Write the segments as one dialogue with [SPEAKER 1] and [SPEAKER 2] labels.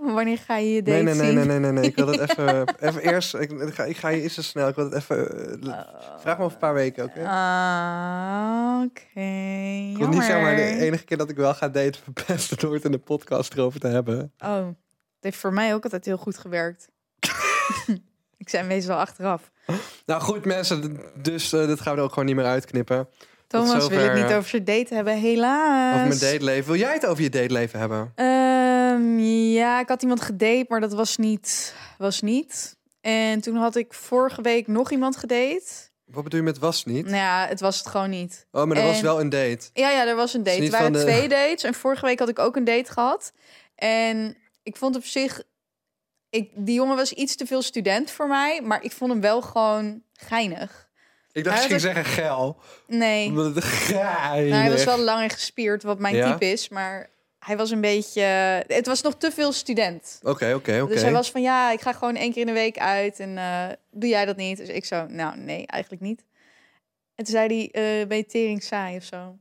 [SPEAKER 1] Wanneer ga je je date
[SPEAKER 2] Nee, nee, nee,
[SPEAKER 1] zien?
[SPEAKER 2] nee, nee, nee, nee. Ik wil het even, even eerst. Ik, ik ga, ik ga je eerst zo snel. Ik wil het even. eh,
[SPEAKER 1] Oh.
[SPEAKER 2] vraag me over een paar weken, oké?
[SPEAKER 1] Ah, Oké,
[SPEAKER 2] ik wil niet
[SPEAKER 1] jammer.
[SPEAKER 2] zomaar de enige keer dat ik wel ga daten verpesten door het in de podcast erover te hebben.
[SPEAKER 1] Oh, het heeft voor mij ook altijd heel goed gewerkt. ik zei meestal achteraf.
[SPEAKER 2] Nou goed, mensen. d- Dus eh, dit gaan we er ook gewoon niet meer uitknippen.
[SPEAKER 1] Thomas wil
[SPEAKER 2] zover,
[SPEAKER 1] het niet
[SPEAKER 2] eh,
[SPEAKER 1] over zijn date hebben, helaas.
[SPEAKER 2] Over mijn dateleven. Wil jij het over je dateleven hebben?
[SPEAKER 1] Ehm, ja, ik had iemand gedate, maar dat was niet, was niet. En toen had ik vorige week nog iemand gedate.
[SPEAKER 2] Wat bedoel je met was niet?
[SPEAKER 1] Nou ja, het was het gewoon niet.
[SPEAKER 2] Oh, maar er was
[SPEAKER 1] En-
[SPEAKER 2] wel een date.
[SPEAKER 1] Ja, ja, er was een date.
[SPEAKER 2] niet
[SPEAKER 1] Er waren
[SPEAKER 2] van de-
[SPEAKER 1] twee dates. En vorige week had ik ook een date gehad. En ik vond op zich... Ik, die jongen was iets te veel student voor mij. Maar ik vond hem wel gewoon geinig.
[SPEAKER 2] Ik
[SPEAKER 1] Hij
[SPEAKER 2] dacht, je
[SPEAKER 1] had
[SPEAKER 2] ging zeggen geil.
[SPEAKER 1] Nou, Nee.
[SPEAKER 2] Omdat het geinig.
[SPEAKER 1] Nou, hij was wel lang en gespierd, wat mijn
[SPEAKER 2] Ja?
[SPEAKER 1] type is. Maar hij was een beetje... Het was nog te veel student.
[SPEAKER 2] Oké, oké,
[SPEAKER 1] Dus hij
[SPEAKER 2] oké.
[SPEAKER 1] was van, ja, ik ga gewoon één keer in de week uit. En eh, doe jij dat niet? Dus ik zo, nou, nee, eigenlijk niet. En toen zei hij, eh ben je tering saai of zo?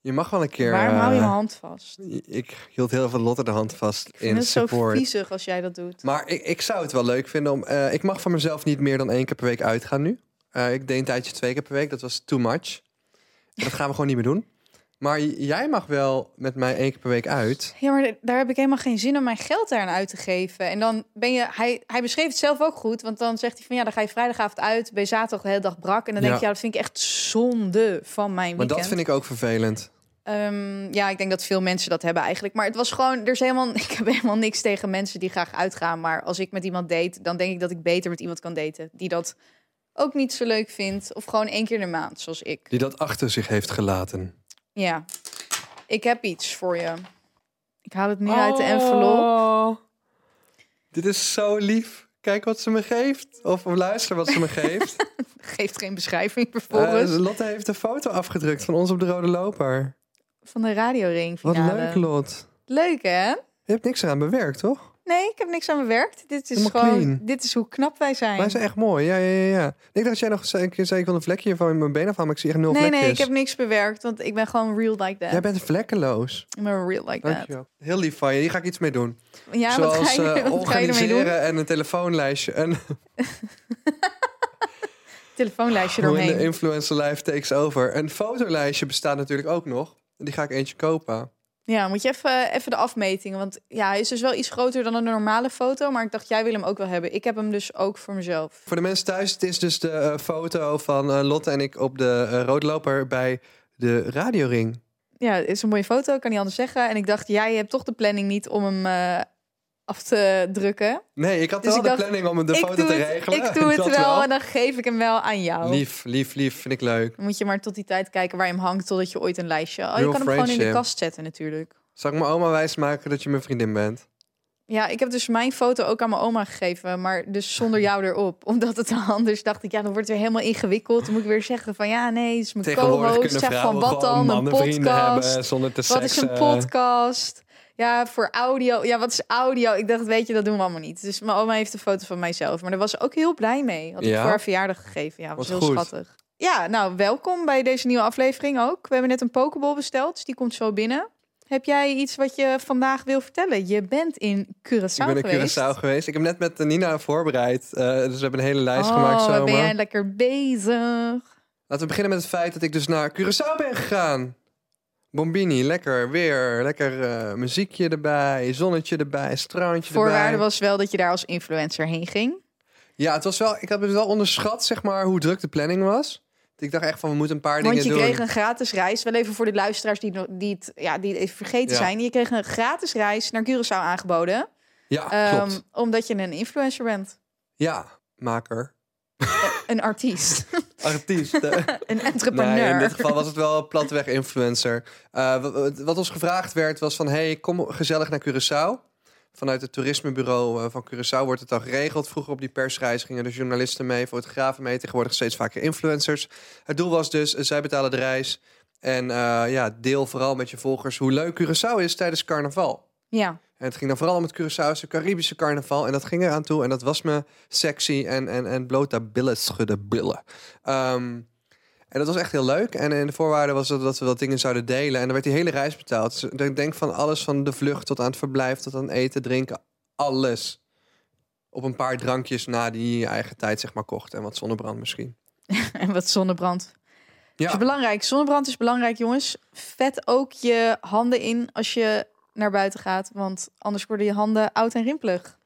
[SPEAKER 2] Je mag wel een keer.
[SPEAKER 1] Waarom hou je
[SPEAKER 2] eh,
[SPEAKER 1] mijn hand vast?
[SPEAKER 2] Ik hield heel veel Lotte de hand vast
[SPEAKER 1] Ik vind
[SPEAKER 2] in
[SPEAKER 1] het zo
[SPEAKER 2] support.
[SPEAKER 1] viezig als jij dat doet.
[SPEAKER 2] Maar ik, ik zou het wel leuk vinden om. eh, ik mag van mezelf niet meer dan één keer per week uitgaan nu. Eh, ik deed een tijdje twee keer per week. Dat was too much. Dat gaan we gewoon niet meer doen. Maar j- jij mag wel met mij één keer per week uit.
[SPEAKER 1] Ja, maar daar heb ik helemaal geen zin om mijn geld daaraan uit te geven. En dan ben je, hij, hij beschreef het zelf ook goed, want dan zegt hij van ja, dan ga je vrijdagavond uit, ben je zaterdag de hele dag brak. En dan denk
[SPEAKER 2] Ja.
[SPEAKER 1] je, ja, dat vind ik echt zonde van mijn
[SPEAKER 2] Maar
[SPEAKER 1] weekend.
[SPEAKER 2] dat vind ik ook vervelend.
[SPEAKER 1] Ehm, ja, ik denk dat veel mensen dat hebben eigenlijk. Maar het was gewoon, er is helemaal, ik heb helemaal niks tegen mensen die graag uitgaan. Maar als ik met iemand date, dan denk ik dat ik beter met iemand kan daten die dat ook niet zo leuk vindt. Of gewoon één keer in de maand, zoals ik.
[SPEAKER 2] Die dat achter zich heeft gelaten.
[SPEAKER 1] Ja, ik heb iets voor je. Ik haal het nu uit
[SPEAKER 2] Oh.
[SPEAKER 1] de envelop.
[SPEAKER 2] Dit is zo lief. Kijk wat ze me geeft. Of, of luister wat ze me geeft.
[SPEAKER 1] Geeft geen beschrijving
[SPEAKER 2] Eh,
[SPEAKER 1] vervolgens.
[SPEAKER 2] Lotte heeft een foto afgedrukt van ons op de rode loper.
[SPEAKER 1] van de radioring
[SPEAKER 2] Wat
[SPEAKER 1] finale.
[SPEAKER 2] leuk, Lot.
[SPEAKER 1] Leuk hè?
[SPEAKER 2] Je hebt niks eraan bewerkt, toch?
[SPEAKER 1] Nee, ik heb niks aan bewerkt. Dit is
[SPEAKER 2] Helemaal
[SPEAKER 1] gewoon,
[SPEAKER 2] clean.
[SPEAKER 1] dit is hoe knap wij zijn.
[SPEAKER 2] Maar hij is echt mooi. Ja, ja, ja, ja. Ik dacht dat jij nog zei, ik zei, ik wil een vlekje van mijn been afhalen, maar ik zie echt nul
[SPEAKER 1] nee,
[SPEAKER 2] vlekjes.
[SPEAKER 1] nee, ik heb niks bewerkt, want ik ben gewoon real like that.
[SPEAKER 2] Jij bent vlekkeloos.
[SPEAKER 1] Ik ben real like that.
[SPEAKER 2] Dankjewel. Heel lief van je. Hier ga ik iets mee doen.
[SPEAKER 1] Ja, wat
[SPEAKER 2] Zoals
[SPEAKER 1] ga je,
[SPEAKER 2] eh,
[SPEAKER 1] wat ga je ermee doen?
[SPEAKER 2] organiseren en een telefoonlijstje. En
[SPEAKER 1] Telefoonlijstje
[SPEAKER 2] hoe in
[SPEAKER 1] eromheen.
[SPEAKER 2] de influencer life takes over. Een fotolijstje bestaat natuurlijk ook nog. En Die ga ik eentje kopen.
[SPEAKER 1] Ja, moet je even, eh, even de afmetingen. Want ja, hij is dus wel iets groter dan een normale foto. Maar ik dacht, jij wil hem ook wel hebben. Ik heb hem dus ook voor mezelf.
[SPEAKER 2] Voor de mensen thuis, het is dus de eh, foto van eh, Lotte en ik op de eh, roodloper bij de radioring.
[SPEAKER 1] Ja, het is een mooie foto, ik kan niet anders zeggen. En ik dacht, jij hebt toch de planning niet om hem eh, af te drukken.
[SPEAKER 2] Nee, ik had
[SPEAKER 1] Dus
[SPEAKER 2] wel
[SPEAKER 1] ik
[SPEAKER 2] de
[SPEAKER 1] dacht,
[SPEAKER 2] planning om de
[SPEAKER 1] ik
[SPEAKER 2] foto
[SPEAKER 1] doe
[SPEAKER 2] te
[SPEAKER 1] het,
[SPEAKER 2] regelen.
[SPEAKER 1] ik doe het
[SPEAKER 2] Dat
[SPEAKER 1] wel, en dan geef ik hem wel aan jou.
[SPEAKER 2] Lief, lief, lief. Vind ik leuk.
[SPEAKER 1] Dan moet je maar tot die tijd kijken waar je hem hangt, totdat je ooit een lijstje... Oh, je
[SPEAKER 2] Real
[SPEAKER 1] kan hem gewoon in de
[SPEAKER 2] friendship.
[SPEAKER 1] kast zetten natuurlijk.
[SPEAKER 2] Zal ik mijn oma wijsmaken dat je mijn vriendin bent?
[SPEAKER 1] Ja, ik heb dus mijn foto ook aan mijn oma gegeven, maar dus zonder jou erop. Omdat het anders dacht ik, ja, dan wordt het weer helemaal ingewikkeld. Dan moet ik weer zeggen van, ja, nee, het is mijn co-host. Zeg van, wat dan, een podcast?
[SPEAKER 2] zonder te
[SPEAKER 1] Wat is een podcast? Ja, voor audio. Ja, wat is audio? Ik dacht, weet je, dat doen we allemaal niet. Dus mijn oma heeft een foto van mijzelf. Maar daar was ze ook heel blij mee. Had ik
[SPEAKER 2] Ja?
[SPEAKER 1] voor haar verjaardag gegeven. Ja, was
[SPEAKER 2] Wat
[SPEAKER 1] heel
[SPEAKER 2] goed.
[SPEAKER 1] schattig. Ja, nou, welkom bij deze nieuwe aflevering ook. We hebben net een pokeball besteld, dus die komt zo binnen. Heb jij iets wat je vandaag wil vertellen? Je bent in Curaçao geweest.
[SPEAKER 2] Ik ben in Curaçao geweest. Ik heb net met eh, Nina voorbereid. eh, dus we hebben een hele lijst gemaakt
[SPEAKER 1] Oh, wat
[SPEAKER 2] zomaar.
[SPEAKER 1] ben jij lekker bezig.
[SPEAKER 2] Laten we beginnen met het feit dat ik dus naar Curaçao ben gegaan. Bombini, lekker weer. Lekker eh, muziekje erbij, zonnetje erbij, strandje
[SPEAKER 1] Voorwaarde
[SPEAKER 2] erbij.
[SPEAKER 1] was wel dat je daar als influencer heen ging.
[SPEAKER 2] Ja, het was wel, ik had het wel onderschat, zeg maar, hoe druk de planning was. Ik dacht echt van, we moeten een paar
[SPEAKER 1] Want
[SPEAKER 2] dingen
[SPEAKER 1] je
[SPEAKER 2] doen.
[SPEAKER 1] kreeg een gratis reis. Wel even voor de luisteraars die, nog- die, het, ja, die het even vergeten
[SPEAKER 2] Ja.
[SPEAKER 1] zijn. Je kreeg een gratis reis naar Curaçao aangeboden.
[SPEAKER 2] Ja,
[SPEAKER 1] ehm,
[SPEAKER 2] Ah, klopt.
[SPEAKER 1] omdat je een influencer bent.
[SPEAKER 2] Ja, maker.
[SPEAKER 1] Een artiest.
[SPEAKER 2] artiest. eh. hè?
[SPEAKER 1] Een entrepreneur.
[SPEAKER 2] Nee, in dit geval was het wel platweg influencer. Eh, wa- wa- wat ons gevraagd werd was van... hey, kom gezellig naar Curaçao. Vanuit het toerismebureau eh, van Curaçao wordt het al geregeld. Vroeger op die persreis gingen de journalisten mee, fotografen mee. Tegenwoordig steeds vaker influencers. Het doel was dus, eh, zij betalen de reis. En eh, ja, deel vooral met je volgers hoe leuk Curaçao is tijdens carnaval.
[SPEAKER 1] Ja,
[SPEAKER 2] En het ging dan vooral om het Curaçaose Caribische carnaval. En dat ging eraan toe. En dat was me sexy en, en, en blote billen schudden billen. Ehm, en dat was echt heel leuk. En in de voorwaarden was dat, dat we wat dingen zouden delen. En dan werd die hele reis betaald. Dus ik denk van alles van de vlucht tot aan het verblijf, tot aan eten, drinken. Alles. Op een paar drankjes na die je eigen tijd zeg maar kocht. En wat zonnebrand misschien.
[SPEAKER 1] en wat zonnebrand.
[SPEAKER 2] Ja.
[SPEAKER 1] Is belangrijk. Zonnebrand is belangrijk, jongens. Vet ook je handen in als je naar buiten gaat, want anders worden je handen oud en rimpelig.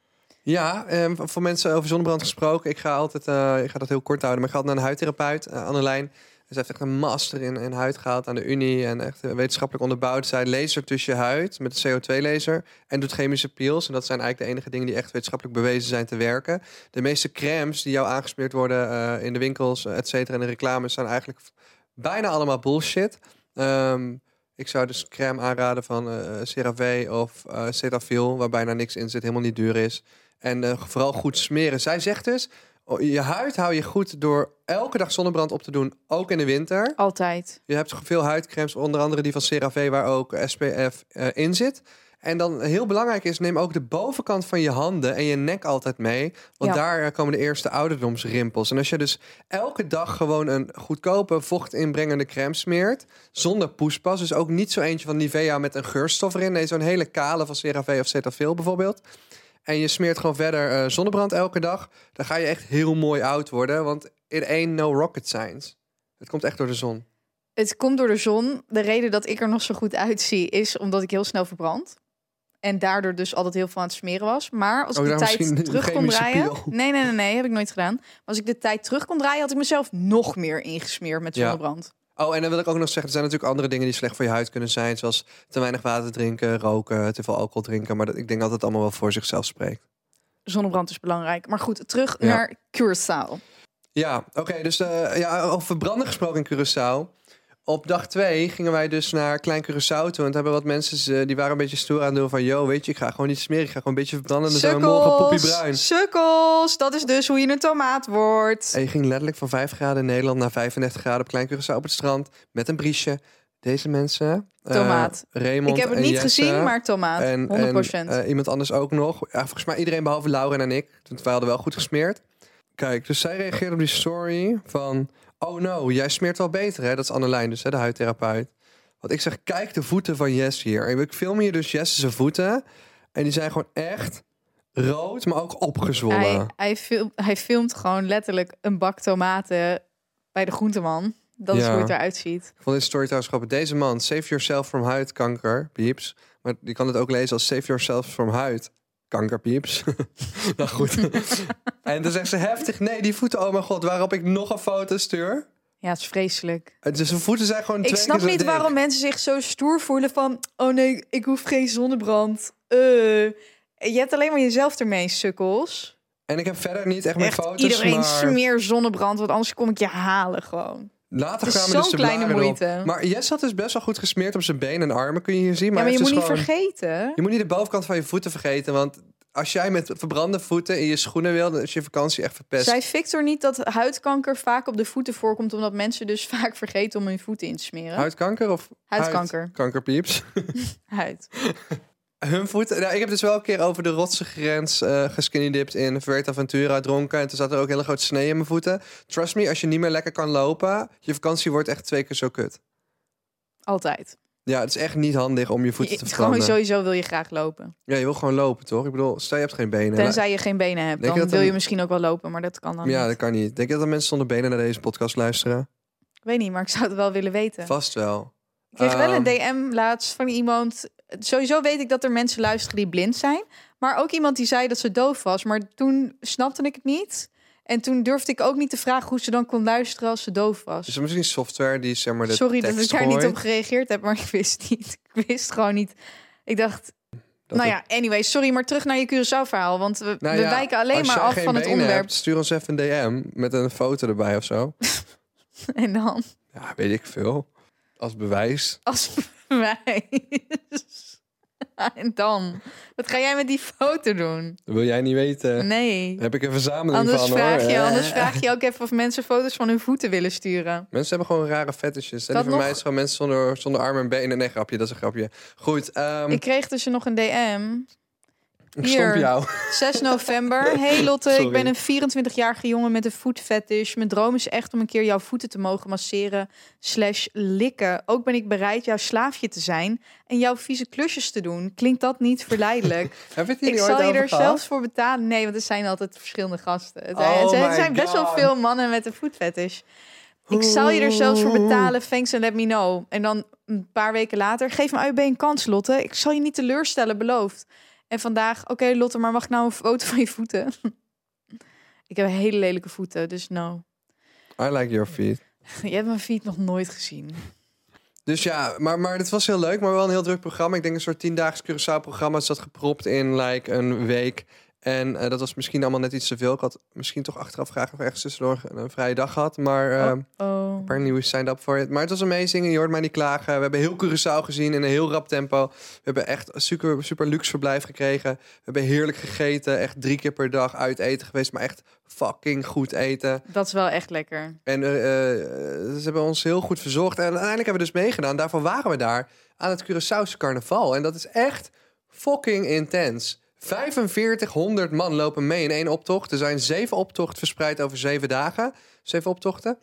[SPEAKER 2] Ja, ehm, voor mensen over zonnebrand gesproken. Ik ga altijd, eh, ik ga dat heel kort houden, maar ik ga altijd naar een huidtherapeut, eh, Annelijn. Ze heeft echt een master in, in huid gehaald aan de Unie en echt eh, wetenschappelijk onderbouwd. Zij lasert dus je huid met een CO2-laser en doet chemische peels. En dat zijn eigenlijk de enige dingen die echt wetenschappelijk bewezen zijn te werken. De meeste crèmes die jou aangesmeerd worden eh, in de winkels, eh, et cetera, en de reclames zijn eigenlijk v- bijna allemaal bullshit. Ehm, ik zou dus crème aanraden van eh CeraVe of eh Cetaphil, waar bijna niks in zit, helemaal niet duur is. En eh, vooral goed smeren. Zij zegt dus, oh, je huid hou je goed door elke dag zonnebrand op te doen, ook in de winter.
[SPEAKER 1] Altijd.
[SPEAKER 2] Je hebt veel huidcremes, onder andere die van CeraVe, waar ook SPF eh, in zit. En dan heel belangrijk is, neem ook de bovenkant van je handen en je nek altijd mee. Want
[SPEAKER 1] Ja.
[SPEAKER 2] daar eh, komen de eerste ouderdomsrimpels. En als je dus elke dag gewoon een goedkope vochtinbrengende crème smeert, zonder poespas, dus ook niet zo eentje van Nivea met een geurstof erin. Nee, zo'n hele kale van CeraVe of Cetaphil bijvoorbeeld. En je smeert gewoon verder eh, zonnebrand elke dag. Dan ga je echt heel mooi oud worden, want it ain't no rocket science. Het komt echt door de zon.
[SPEAKER 1] Het komt door de zon. De reden dat ik er nog zo goed uitzie is omdat ik heel snel verbrand. En daardoor dus altijd heel veel aan het smeren was. Maar als
[SPEAKER 2] Oh,
[SPEAKER 1] ik de
[SPEAKER 2] daar misschien
[SPEAKER 1] tijd
[SPEAKER 2] een
[SPEAKER 1] terug kon
[SPEAKER 2] chemische
[SPEAKER 1] draaien...
[SPEAKER 2] pil.
[SPEAKER 1] Nee, nee, nee, nee, heb ik nooit gedaan. Maar als ik de tijd terug kon draaien, had ik mezelf nog meer ingesmeerd met
[SPEAKER 2] Ja.
[SPEAKER 1] zonnebrand.
[SPEAKER 2] Oh, en dan wil ik ook nog zeggen, er zijn natuurlijk andere dingen die slecht voor je huid kunnen zijn. Zoals te weinig water drinken, roken, te veel alcohol drinken. Maar dat, ik denk dat het allemaal wel voor zichzelf spreekt.
[SPEAKER 1] Zonnebrand is belangrijk. Maar goed, terug
[SPEAKER 2] Ja.
[SPEAKER 1] naar Curaçao.
[SPEAKER 2] Ja, oké, dus eh, ja, over verbranden gesproken in Curaçao. Op dag twee gingen wij dus naar Klein Curaçao toe. En toen hebben wat mensen, ze- die waren een beetje stoer aan het doen van... Yo, weet je, ik ga gewoon niet smeren, ik ga gewoon een beetje verbranden. En dan zijn we morgen poppie bruin.
[SPEAKER 1] sukkels. Dat is dus hoe je een tomaat wordt.
[SPEAKER 2] En je ging letterlijk van 5 graden in Nederland naar 35 graden op Klein Curaçao op het strand. Met een briesje. Deze mensen... eh,
[SPEAKER 1] Tomaat.
[SPEAKER 2] Raymond
[SPEAKER 1] Ik heb het
[SPEAKER 2] en
[SPEAKER 1] niet
[SPEAKER 2] Jesse.
[SPEAKER 1] gezien, maar tomaat. 100%.
[SPEAKER 2] En, en eh, iemand anders ook nog. Ja, volgens mij iedereen behalve Lauren en ik. Want wij hadden wel goed gesmeerd. Kijk, dus zij reageerde op die story van... Oh no, jij smeert wel beter, hè? Dat is Annelijn dus, hè, de huidtherapeut. Want ik zeg, kijk de voeten van Jess hier. En ik film hier dus Jess zijn voeten. En die zijn gewoon echt rood, maar ook opgezwollen.
[SPEAKER 1] hij, hij, film- hij filmt gewoon letterlijk een bak tomaten bij de groenteman. Dat is
[SPEAKER 2] Ja.
[SPEAKER 1] hoe het eruit ziet.
[SPEAKER 2] Ik vond dit story trouwens grappig. Deze man, save yourself from huidkanker, pieps. Maar die kan het ook lezen als save yourself from huidkanker, pieps. nou goed. en dan zegt ze heftig, nee, die voeten, oh mijn god, waarop ik nog een foto stuur.
[SPEAKER 1] Ja, het is vreselijk.
[SPEAKER 2] En Dus zijn voeten zijn gewoon twee
[SPEAKER 1] ik snap
[SPEAKER 2] keer zo
[SPEAKER 1] niet
[SPEAKER 2] dik.
[SPEAKER 1] waarom mensen zich zo stoer voelen van... Oh nee, ik hoef geen zonnebrand. Eh. Je hebt alleen maar jezelf ermee, sukkels.
[SPEAKER 2] En ik heb verder niet echt mijn
[SPEAKER 1] Echt,
[SPEAKER 2] foto's,
[SPEAKER 1] iedereen
[SPEAKER 2] maar...
[SPEAKER 1] smeer zonnebrand, want anders kom ik je halen gewoon.
[SPEAKER 2] Later
[SPEAKER 1] Het is
[SPEAKER 2] gaan we
[SPEAKER 1] zo'n
[SPEAKER 2] dus de
[SPEAKER 1] kleine
[SPEAKER 2] blaren erop.
[SPEAKER 1] moeite.
[SPEAKER 2] Maar Jess had dus best wel goed gesmeerd op zijn benen en armen, kun je hier zien.
[SPEAKER 1] ja,
[SPEAKER 2] Maar,
[SPEAKER 1] maar je
[SPEAKER 2] hij
[SPEAKER 1] moet
[SPEAKER 2] heeft
[SPEAKER 1] niet
[SPEAKER 2] dus gewoon-
[SPEAKER 1] vergeten.
[SPEAKER 2] Je moet niet de bovenkant van je voeten vergeten, want... Als jij met verbrande voeten in je schoenen wil, dan is je vakantie echt verpest.
[SPEAKER 1] Zei Victor niet dat huidkanker vaak op de voeten voorkomt, omdat mensen dus vaak vergeten om hun voeten in te smeren?
[SPEAKER 2] Huidkanker of
[SPEAKER 1] Huidkanker.
[SPEAKER 2] Kankerpieps.
[SPEAKER 1] Huid.
[SPEAKER 2] Hun voeten. Nou, ik heb dus wel een keer over de rotse grens eh geskinnydipt in Fuerteventura dronken. En toen zat er ook een hele grote snee in mijn voeten. Trust me, als je niet meer lekker kan lopen, je vakantie wordt echt twee keer zo kut.
[SPEAKER 1] Altijd.
[SPEAKER 2] Ja, het is echt niet handig om je voeten
[SPEAKER 1] Je-
[SPEAKER 2] te
[SPEAKER 1] gewoon
[SPEAKER 2] verbranden.
[SPEAKER 1] sowieso wil je graag lopen.
[SPEAKER 2] Ja, je wil gewoon lopen, toch? Ik bedoel, stel je hebt geen benen.
[SPEAKER 1] Tenzij je geen benen hebt,
[SPEAKER 2] Denk je
[SPEAKER 1] dan
[SPEAKER 2] dat
[SPEAKER 1] wil
[SPEAKER 2] een-
[SPEAKER 1] je misschien ook wel lopen, maar dat kan dan
[SPEAKER 2] Ja,
[SPEAKER 1] niet.
[SPEAKER 2] dat kan niet. Denk je dat er mensen zonder benen naar deze podcast luisteren?
[SPEAKER 1] Ik weet niet, maar ik zou het wel willen weten.
[SPEAKER 2] Vast wel.
[SPEAKER 1] Ik kreeg wel een
[SPEAKER 2] Ehm,
[SPEAKER 1] DM laatst van iemand. Sowieso weet ik dat er mensen luisteren die blind zijn. Maar ook iemand die zei dat ze doof was. Maar toen snapte ik het niet. En toen durfde ik ook niet te vragen hoe ze dan kon luisteren als ze doof was.
[SPEAKER 2] Is er misschien software die zeg maar de
[SPEAKER 1] Sorry dat
[SPEAKER 2] tekst
[SPEAKER 1] ik daar niet
[SPEAKER 2] gooit?
[SPEAKER 1] op gereageerd heb, maar ik wist niet. Ik wist gewoon niet. Ik dacht,
[SPEAKER 2] Dat
[SPEAKER 1] nou
[SPEAKER 2] het-
[SPEAKER 1] ja, anyway, sorry, maar terug naar je Curaçao-verhaal. Want we,
[SPEAKER 2] Nou
[SPEAKER 1] we
[SPEAKER 2] ja,
[SPEAKER 1] wijken alleen
[SPEAKER 2] als
[SPEAKER 1] maar
[SPEAKER 2] jij
[SPEAKER 1] af
[SPEAKER 2] geen
[SPEAKER 1] van het
[SPEAKER 2] benen
[SPEAKER 1] onderwerp.
[SPEAKER 2] hebt, stuur ons even een DM met een foto erbij of zo.
[SPEAKER 1] En dan
[SPEAKER 2] Ja, weet ik veel. Als bewijs.
[SPEAKER 1] als bewijs. en dan? Wat ga jij met die foto doen?
[SPEAKER 2] Wil jij niet weten?
[SPEAKER 1] Nee.
[SPEAKER 2] Heb ik een verzameling
[SPEAKER 1] Mm. Anders
[SPEAKER 2] van hoor.
[SPEAKER 1] vraag, je,
[SPEAKER 2] Eh.
[SPEAKER 1] anders vraag je ook even of mensen foto's van hun voeten willen sturen.
[SPEAKER 2] Mensen hebben gewoon rare fetishes. En
[SPEAKER 1] Dat
[SPEAKER 2] die van
[SPEAKER 1] nog-
[SPEAKER 2] mij is gewoon mensen zonder, zonder armen en benen. Nee, grapje, dat is een grapje. Goed, ehm,
[SPEAKER 1] Ik
[SPEAKER 2] ik,
[SPEAKER 1] kreeg dus nog een DM.
[SPEAKER 2] stomp
[SPEAKER 1] hier.
[SPEAKER 2] jou.
[SPEAKER 1] 6 november. Hey Lotte,
[SPEAKER 2] Sorry.
[SPEAKER 1] ik ben een 24-jarige jongen met een food fetish. Mijn droom is echt om een keer jouw voeten te mogen masseren slash likken. Ook ben ik bereid jouw slaafje te zijn en jouw vieze klusjes te doen. Klinkt dat niet verleidelijk?
[SPEAKER 2] Hebben we het
[SPEAKER 1] ik
[SPEAKER 2] hier ooit
[SPEAKER 1] zal je
[SPEAKER 2] over
[SPEAKER 1] er
[SPEAKER 2] gehad?
[SPEAKER 1] zelfs voor betalen. Nee, want er zijn altijd verschillende gasten. Het
[SPEAKER 2] Oh
[SPEAKER 1] zijn, het
[SPEAKER 2] my
[SPEAKER 1] zijn best wel
[SPEAKER 2] God.
[SPEAKER 1] veel mannen met een food fetish. Ik zal je er zelfs voor betalen. Thanks and let me know. En dan een paar weken later. Geef me AUB een kans, Lotte. Ik zal je niet teleurstellen, beloofd. En vandaag, oké Lotte, maar mag ik nou een foto van je voeten? ik heb hele lelijke voeten, dus no.
[SPEAKER 2] I like your feet.
[SPEAKER 1] Je hebt mijn feet nog nooit gezien.
[SPEAKER 2] Dus ja, maar, maar het was heel leuk, maar wel een heel druk programma. Ik denk een soort tiendaags Curaçao-programma. Het zat gepropt in like een week. En eh, dat was misschien allemaal net iets te veel. Ik had misschien toch achteraf graag nog ergens tussendoor een, een vrije dag gehad. Maar ehm,
[SPEAKER 1] Oh.
[SPEAKER 2] Apparently we signed up for it. Maar het was amazing. en Je hoort mij niet klagen. We hebben heel Curaçao gezien in een heel rap tempo. We hebben echt een super, super luxe verblijf gekregen. We hebben heerlijk gegeten. Echt drie keer per dag uit eten geweest. Maar echt fucking goed eten.
[SPEAKER 1] Dat is wel echt lekker.
[SPEAKER 2] En eh, eh, ze hebben ons heel goed verzorgd. En uiteindelijk hebben we dus meegedaan. Daarvoor waren we daar aan het Curaçaose carnaval. En dat is echt fucking intens. 4500 man lopen mee in één optocht. Er zijn zeven optochten verspreid over zeven dagen. Zeven optochten.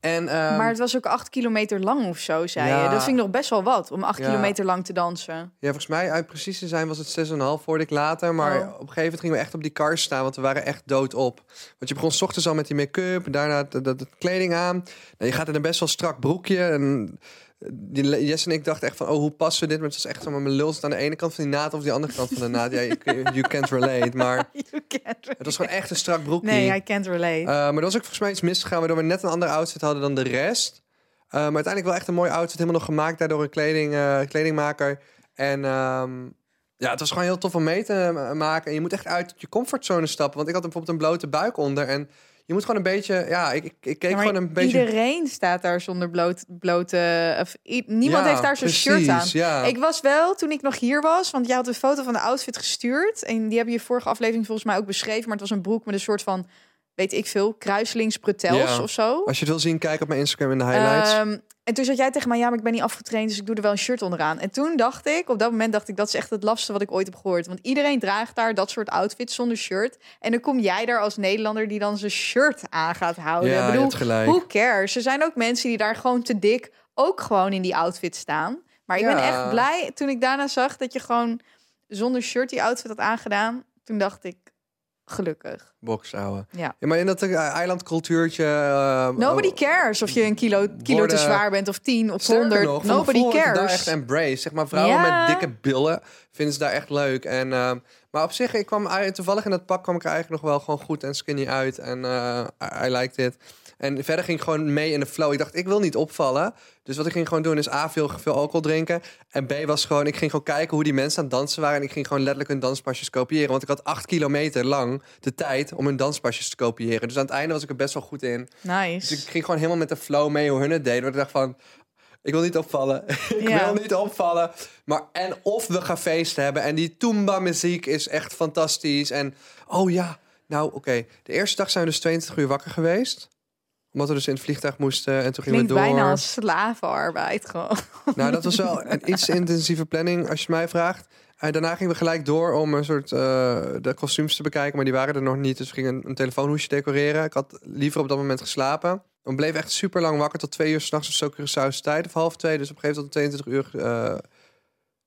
[SPEAKER 2] En, ehm,
[SPEAKER 1] maar het was ook acht kilometer lang of zo, zei je.
[SPEAKER 2] Ja.
[SPEAKER 1] Dat vind ik nog best wel wat, om acht
[SPEAKER 2] Ja.
[SPEAKER 1] kilometer lang te dansen.
[SPEAKER 2] Ja, volgens mij, uit precies te zijn, was het 6,5 hoorde ik later. Maar
[SPEAKER 1] Oh.
[SPEAKER 2] op een gegeven moment gingen we echt op die cars staan, want we waren echt doodop. Want je begon 's ochtends al met die make-up, daarna de, de- de kleding aan. Nou, je gaat in een best wel strak broekje. En eh, die, Jess en ik dachten echt van, oh, hoe passen we dit? Maar het was echt zo, maar mijn lul zit aan de ene kant van die naad of die andere kant van de naad. Ja, you, you can't relate, maar het was gewoon echt een strak broekje.
[SPEAKER 1] Nee, I can't relate.
[SPEAKER 2] Eh, maar er was ook volgens mij iets misgegaan, waardoor we net een andere outfit hadden dan de rest. Eh, maar uiteindelijk wel echt een mooi outfit, helemaal nog gemaakt daardoor een kleding, eh, kledingmaker. En ehm, ja, het was gewoon heel tof om mee te eh, maken. En je moet echt uit je comfortzone stappen, want ik had bijvoorbeeld een blote buik onder. En je moet gewoon een beetje, ja, ik, ik, ik keek
[SPEAKER 1] Ja, maar
[SPEAKER 2] gewoon een beetje...
[SPEAKER 1] Iedereen staat daar zonder bloot, blote. Of, i- niemand
[SPEAKER 2] Ja,
[SPEAKER 1] heeft daar zijn shirt aan.
[SPEAKER 2] precies, Ja.
[SPEAKER 1] Ik was wel, toen ik nog hier was, want jij had een foto van de outfit gestuurd. En die heb je vorige aflevering volgens mij ook beschreven. Maar het was een broek met een soort van, weet ik veel, kruislings bretels
[SPEAKER 2] Ja.
[SPEAKER 1] of zo.
[SPEAKER 2] Als je het wil zien, kijk op mijn Instagram in de highlights.
[SPEAKER 1] Ehm, en toen zei jij tegen mij, ja, maar ik ben niet afgetraind, dus ik doe er wel een shirt onderaan. En toen dacht ik, op dat moment dacht ik, dat is echt het lafste wat ik ooit heb gehoord. Want iedereen draagt daar dat soort outfits zonder shirt. En dan kom jij daar als Nederlander die dan zijn shirt aan gaat houden.
[SPEAKER 2] ja,
[SPEAKER 1] ik
[SPEAKER 2] je
[SPEAKER 1] Oh, bedoel,
[SPEAKER 2] hebt gelijk.
[SPEAKER 1] Who cares? Er zijn ook mensen die daar gewoon te dik ook gewoon in die outfit staan. Maar ik ben
[SPEAKER 2] Ja.
[SPEAKER 1] echt blij toen ik daarna zag dat je gewoon zonder shirt die outfit had aangedaan. Toen dacht ik, gelukkig.
[SPEAKER 2] Boks houden.
[SPEAKER 1] Ja.
[SPEAKER 2] Maar in dat eh, eilandcultuurtje... eh,
[SPEAKER 1] Nobody
[SPEAKER 2] oh,
[SPEAKER 1] cares of je een kilo, kilo te
[SPEAKER 2] Worden-
[SPEAKER 1] zwaar bent of 10 of
[SPEAKER 2] Sterker
[SPEAKER 1] 100.
[SPEAKER 2] nog, van
[SPEAKER 1] Nobody
[SPEAKER 2] gevoel wordt het daar
[SPEAKER 1] cares.
[SPEAKER 2] echt embrace. Zeg maar, vrouwen
[SPEAKER 1] Ja.
[SPEAKER 2] met dikke billen vinden ze daar echt leuk. En, ehm, maar op zich, ik kwam uit- toevallig in dat pak kwam ik er eigenlijk nog wel gewoon goed en skinny uit. En eh, I, I liked it. En verder ging ik gewoon mee in de flow. Ik dacht, ik wil niet opvallen. Dus wat ik ging gewoon doen is A, veel, veel alcohol drinken. En B was gewoon, ik ging gewoon kijken hoe die mensen aan het dansen waren. En ik ging gewoon letterlijk hun danspasjes kopiëren. Want ik had acht kilometer lang de tijd om hun danspasjes te kopiëren. Dus aan het einde was ik er best wel goed in. Dus
[SPEAKER 1] Nice.
[SPEAKER 2] ik ging gewoon helemaal met de flow mee hoe hun het deden. Want ik dacht van, ik wil niet opvallen. ik
[SPEAKER 1] Ja.
[SPEAKER 2] wil niet opvallen. Maar en of we gaan feest hebben. En die Toomba muziek is echt fantastisch. En oh ja, nou oké. De eerste dag zijn we dus 22 uur wakker geweest. Omdat we dus in het vliegtuig moesten. En toen gingen
[SPEAKER 1] Klinkt
[SPEAKER 2] we door.
[SPEAKER 1] bijna als slavenarbeid gewoon.
[SPEAKER 2] Nou, dat was wel een iets intensieve planning, als je het mij vraagt. En daarna gingen we gelijk door om een soort eh, de kostuums te bekijken, maar die waren er nog niet. Dus we gingen een, een telefoonhoesje decoreren. Ik had liever op dat moment geslapen. We bleven echt super lang wakker, tot twee uur s'nachts of zo, Curaçao's tijd, of half twee. Dus op een gegeven moment om 22 uur... eh,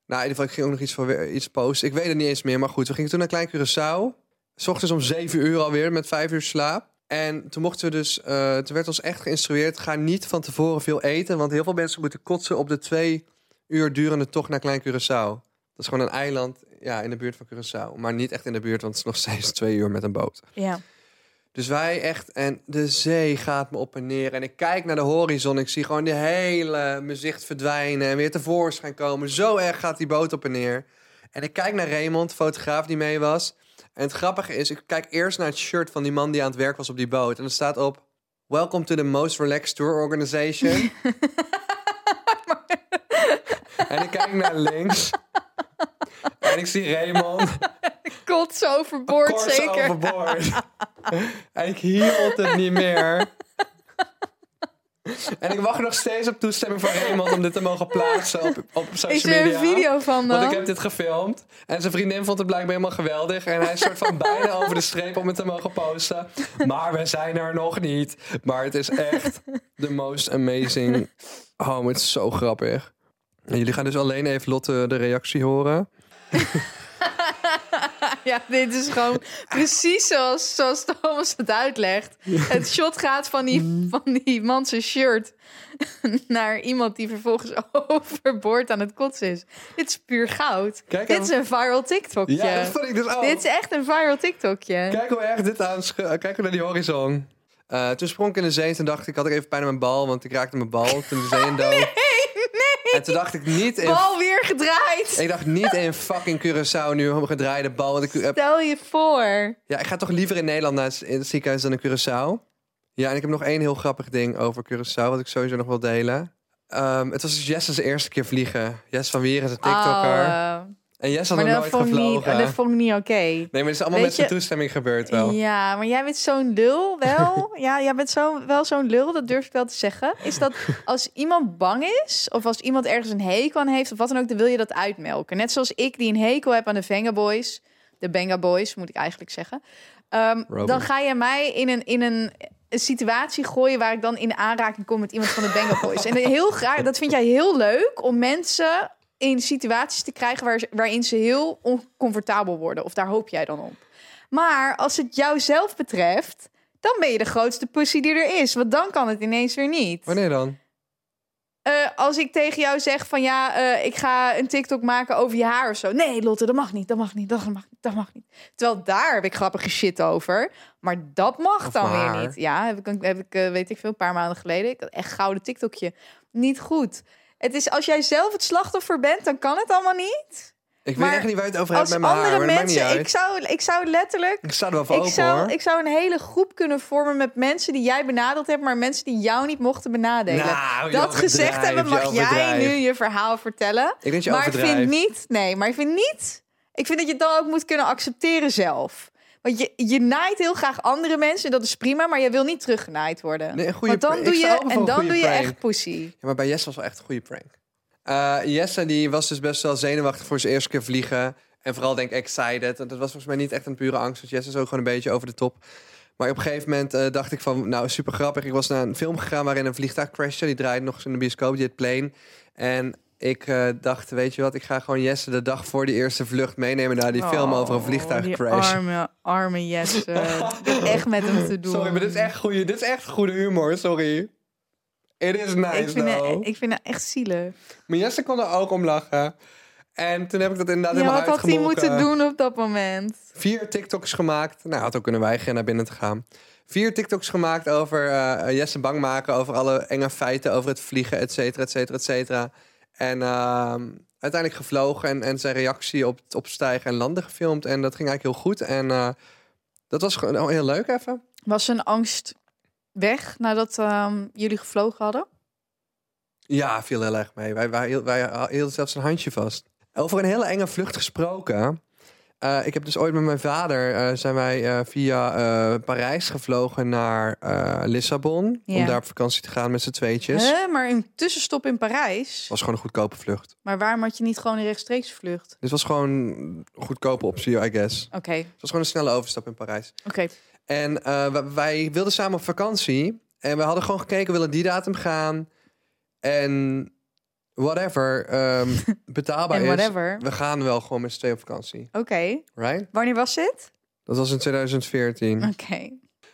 [SPEAKER 2] nou, in ieder geval, ik ging ook nog iets, voor weer, iets posten. Ik weet het niet eens meer, maar goed. We gingen toen naar Klein Curaçao. S ochtends om 7 uur alweer, met 5 uur slaap. En toen mochten we dus, eh, toen werd ons echt geïnstrueerd: ga niet van tevoren veel eten. Want heel veel mensen moeten kotsen op de twee uur durende tocht naar Klein Curaçao. Dat is gewoon een eiland ja, in de buurt van Curaçao. Maar niet echt in de buurt, want het is nog steeds twee uur met een boot.
[SPEAKER 1] Ja.
[SPEAKER 2] Dus wij echt, en de zee gaat me op en neer. En ik kijk naar de horizon, ik zie gewoon de hele mijn zicht verdwijnen en weer tevoorschijn komen. Zo erg gaat die boot op en neer. En ik kijk naar Raymond, fotograaf die mee was. En het grappige is, ik kijk eerst naar het shirt van die man die aan het werk was op die boot. En er staat op, Welcome to the most relaxed tour organization. en ik kijk naar links. En ik zie Raymond.
[SPEAKER 1] Kots overboord
[SPEAKER 2] Kors
[SPEAKER 1] zeker.
[SPEAKER 2] overboord. en ik hield het niet meer. En ik wacht nog steeds op toestemming van Raymond om dit te mogen plaatsen op, op social
[SPEAKER 1] Is
[SPEAKER 2] media.
[SPEAKER 1] er een video van dan?
[SPEAKER 2] Want ik heb dit gefilmd. En zijn vriendin vond het blijkbaar helemaal geweldig. En hij is soort van bijna over de streep om het te mogen posten. Maar we zijn er nog niet. Maar het is echt the most amazing. Oh, maar het is zo grappig. En jullie gaan dus alleen even Lotte de reactie horen.
[SPEAKER 1] Ja, dit is gewoon precies zoals, zoals Thomas het uitlegt. Het shot gaat van die,
[SPEAKER 2] Mm.
[SPEAKER 1] van die man zijn shirt naar iemand die vervolgens overboord aan het kotsen is. Dit is puur goud.
[SPEAKER 2] Kijk
[SPEAKER 1] dit
[SPEAKER 2] aan-
[SPEAKER 1] is een viral TikTokje.
[SPEAKER 2] Ja, dat vond ik dus ook.
[SPEAKER 1] Dit is echt een viral TikTokje.
[SPEAKER 2] Kijk hoe erg dit aan. Kijk hoe naar die horizon. Eh, toen sprong ik in de zee en toen dacht ik, had ik even pijn aan mijn bal, want ik raakte mijn bal toen de zee in dood. En toen dacht ik eh, niet in,
[SPEAKER 1] Bal weer gedraaid.
[SPEAKER 2] ik dacht niet in fucking Curaçao nu om een gedraaide bal, want ik heb
[SPEAKER 1] Stel je voor.
[SPEAKER 2] Ja, ik ga toch liever in Nederland naar het- in het ziekenhuis dan in Curaçao. Ja, en ik heb nog één heel grappig ding over Curaçao, wat ik sowieso nog wil delen. Ehm, het was dus Jesse's eerste keer vliegen. Jess van Wier is een TikToker.
[SPEAKER 1] Oh,
[SPEAKER 2] en Jess
[SPEAKER 1] eh,
[SPEAKER 2] had
[SPEAKER 1] maar
[SPEAKER 2] nog
[SPEAKER 1] dat
[SPEAKER 2] nooit
[SPEAKER 1] vond, ik niet,
[SPEAKER 2] gevlogen.
[SPEAKER 1] dat vond ik niet oké.
[SPEAKER 2] Nee, maar het is allemaal
[SPEAKER 1] Weet
[SPEAKER 2] met zijn
[SPEAKER 1] je-
[SPEAKER 2] toestemming gebeurd wel.
[SPEAKER 1] Ja, maar jij bent zo'n lul wel. ja, jij bent zo, wel zo'n lul, dat durf ik wel te zeggen. Is dat als iemand bang is, of als iemand ergens een hekel aan heeft, of wat dan ook, dan wil je dat uitmelken. Net zoals ik die een hekel heb aan de Venga Boys, de Benga Boys moet ik eigenlijk zeggen. Ehm,
[SPEAKER 2] Robin.
[SPEAKER 1] dan ga je mij in een, in een een situatie gooien waar ik dan in aanraking kom met iemand van de Benga Boys. En heel graag, dat vind jij heel leuk om mensen in situaties te krijgen waar, ze- waarin ze heel oncomfortabel worden. Of daar hoop jij dan op. Maar als het jouzelf betreft, dan ben je de grootste pussy die er is. Want dan kan het ineens weer niet.
[SPEAKER 2] Wanneer dan?
[SPEAKER 1] Eh, als ik tegen jou zeg van ja, eh, ik ga een TikTok maken over je haar of zo. Nee, Lotte, dat mag niet, dat mag niet, dat mag niet, dat mag niet. Terwijl daar heb ik grappige shit over. Maar dat mag
[SPEAKER 2] Of
[SPEAKER 1] dan
[SPEAKER 2] haar.
[SPEAKER 1] weer niet. Ja, heb ik, een- heb ik eh, weet ik veel, een paar maanden geleden. Ik had echt gouden TikTokje. Niet goed. Het is als jij zelf het slachtoffer bent, dan kan het allemaal niet.
[SPEAKER 2] Ik weet
[SPEAKER 1] Maar
[SPEAKER 2] echt niet waar je het over hebt
[SPEAKER 1] Als
[SPEAKER 2] met mijn haar,
[SPEAKER 1] andere
[SPEAKER 2] maar dat maakt niet
[SPEAKER 1] mensen,
[SPEAKER 2] uit.
[SPEAKER 1] ik zou, ik zou letterlijk
[SPEAKER 2] Ik sta er wel voor
[SPEAKER 1] ik
[SPEAKER 2] open, hoor.
[SPEAKER 1] zou, ik zou een hele groep kunnen vormen met mensen die jij benadeeld hebt, maar mensen die jou niet mochten benadelen.
[SPEAKER 2] Nou, je
[SPEAKER 1] dat
[SPEAKER 2] overdrijft,
[SPEAKER 1] gezegd hebben,
[SPEAKER 2] je
[SPEAKER 1] mag jij
[SPEAKER 2] overdrijft.
[SPEAKER 1] nu je verhaal vertellen.
[SPEAKER 2] Ik denk je
[SPEAKER 1] maar ik vind
[SPEAKER 2] overdrijft.
[SPEAKER 1] niet, nee, maar ik vind niet. Ik vind dat je het dan ook moet kunnen accepteren zelf. Want je, je naait heel graag andere mensen, dat is prima, maar je wil niet teruggenaaid worden.
[SPEAKER 2] Nee, een goede
[SPEAKER 1] Want dan
[SPEAKER 2] prank.
[SPEAKER 1] doe
[SPEAKER 2] Ik sta
[SPEAKER 1] je,
[SPEAKER 2] open voor
[SPEAKER 1] en
[SPEAKER 2] een
[SPEAKER 1] dan
[SPEAKER 2] goede
[SPEAKER 1] doe je
[SPEAKER 2] prank.
[SPEAKER 1] echt pussy.
[SPEAKER 2] Ja, maar bij Jesse was wel echt een goede prank. Eh, Jesse die was dus best wel zenuwachtig voor zijn eerste keer vliegen. En vooral denk ik excited. Want dat was volgens mij niet echt een pure angst. Dus Jesse is ook gewoon een beetje over de top. Maar op een gegeven moment eh, dacht ik van, nou super grappig. Ik was naar een film gegaan waarin een vliegtuig crashte. Die draaide nog eens in de bioscoop, Jet Plane. En ik eh, dacht, weet je wat, ik ga gewoon Jesse de dag voor die eerste vlucht meenemen naar Oh, die film over een vliegtuigcrash.
[SPEAKER 1] Oh, Arme, arme Jesse. Ik heb echt met hem te doen.
[SPEAKER 2] Sorry, maar dit is echt goede, dit is echt goede humor, sorry. It is nice
[SPEAKER 1] ik, vind
[SPEAKER 2] though.
[SPEAKER 1] het, ik vind het echt zielig.
[SPEAKER 2] Maar Jesse kon er ook om lachen. En toen heb ik dat inderdaad
[SPEAKER 1] Ja,
[SPEAKER 2] helemaal
[SPEAKER 1] wat had hij
[SPEAKER 2] uitgemolken.
[SPEAKER 1] moeten doen op dat moment?
[SPEAKER 2] Vier TikToks gemaakt. Nou, had ook kunnen weigeren naar binnen te gaan. Vier TikToks gemaakt over eh, Jesse bang maken. Over alle enge feiten over het vliegen, et cetera, et cetera, et cetera. En ehm, uiteindelijk gevlogen en, en zijn reactie op het opstijgen en landen gefilmd. En dat ging eigenlijk heel goed. En eh, dat was gewoon heel leuk even.
[SPEAKER 1] Was zijn angst weg nadat ehm, jullie gevlogen hadden?
[SPEAKER 2] Ja, viel heel erg mee. Wij, wij, hiel- wij hielden zelfs een handje vast. Over een hele enge vlucht gesproken. Eh, ik heb dus ooit met mijn vader eh, zijn wij eh, via eh, Parijs gevlogen naar eh, Lissabon. Om
[SPEAKER 1] Ja.
[SPEAKER 2] daar op vakantie te gaan met z'n tweetjes.
[SPEAKER 1] Hè, maar een tussenstop in Parijs.
[SPEAKER 2] was gewoon een goedkope vlucht.
[SPEAKER 1] Maar waarom had je niet gewoon een rechtstreeks vlucht?
[SPEAKER 2] Dit was gewoon een goedkope optie, I guess.
[SPEAKER 1] Oké,
[SPEAKER 2] Het was gewoon een snelle overstap in Parijs.
[SPEAKER 1] oké.
[SPEAKER 2] En eh, w- wij wilden samen op vakantie. En we hadden gewoon gekeken, willen die datum gaan. En whatever ehm, betaalbaar
[SPEAKER 1] En
[SPEAKER 2] is.
[SPEAKER 1] whatever. Oké.
[SPEAKER 2] We gaan wel gewoon met z'n tweeën op vakantie, right?
[SPEAKER 1] Wanneer was dit?
[SPEAKER 2] Dat was in 2014.
[SPEAKER 1] Oké.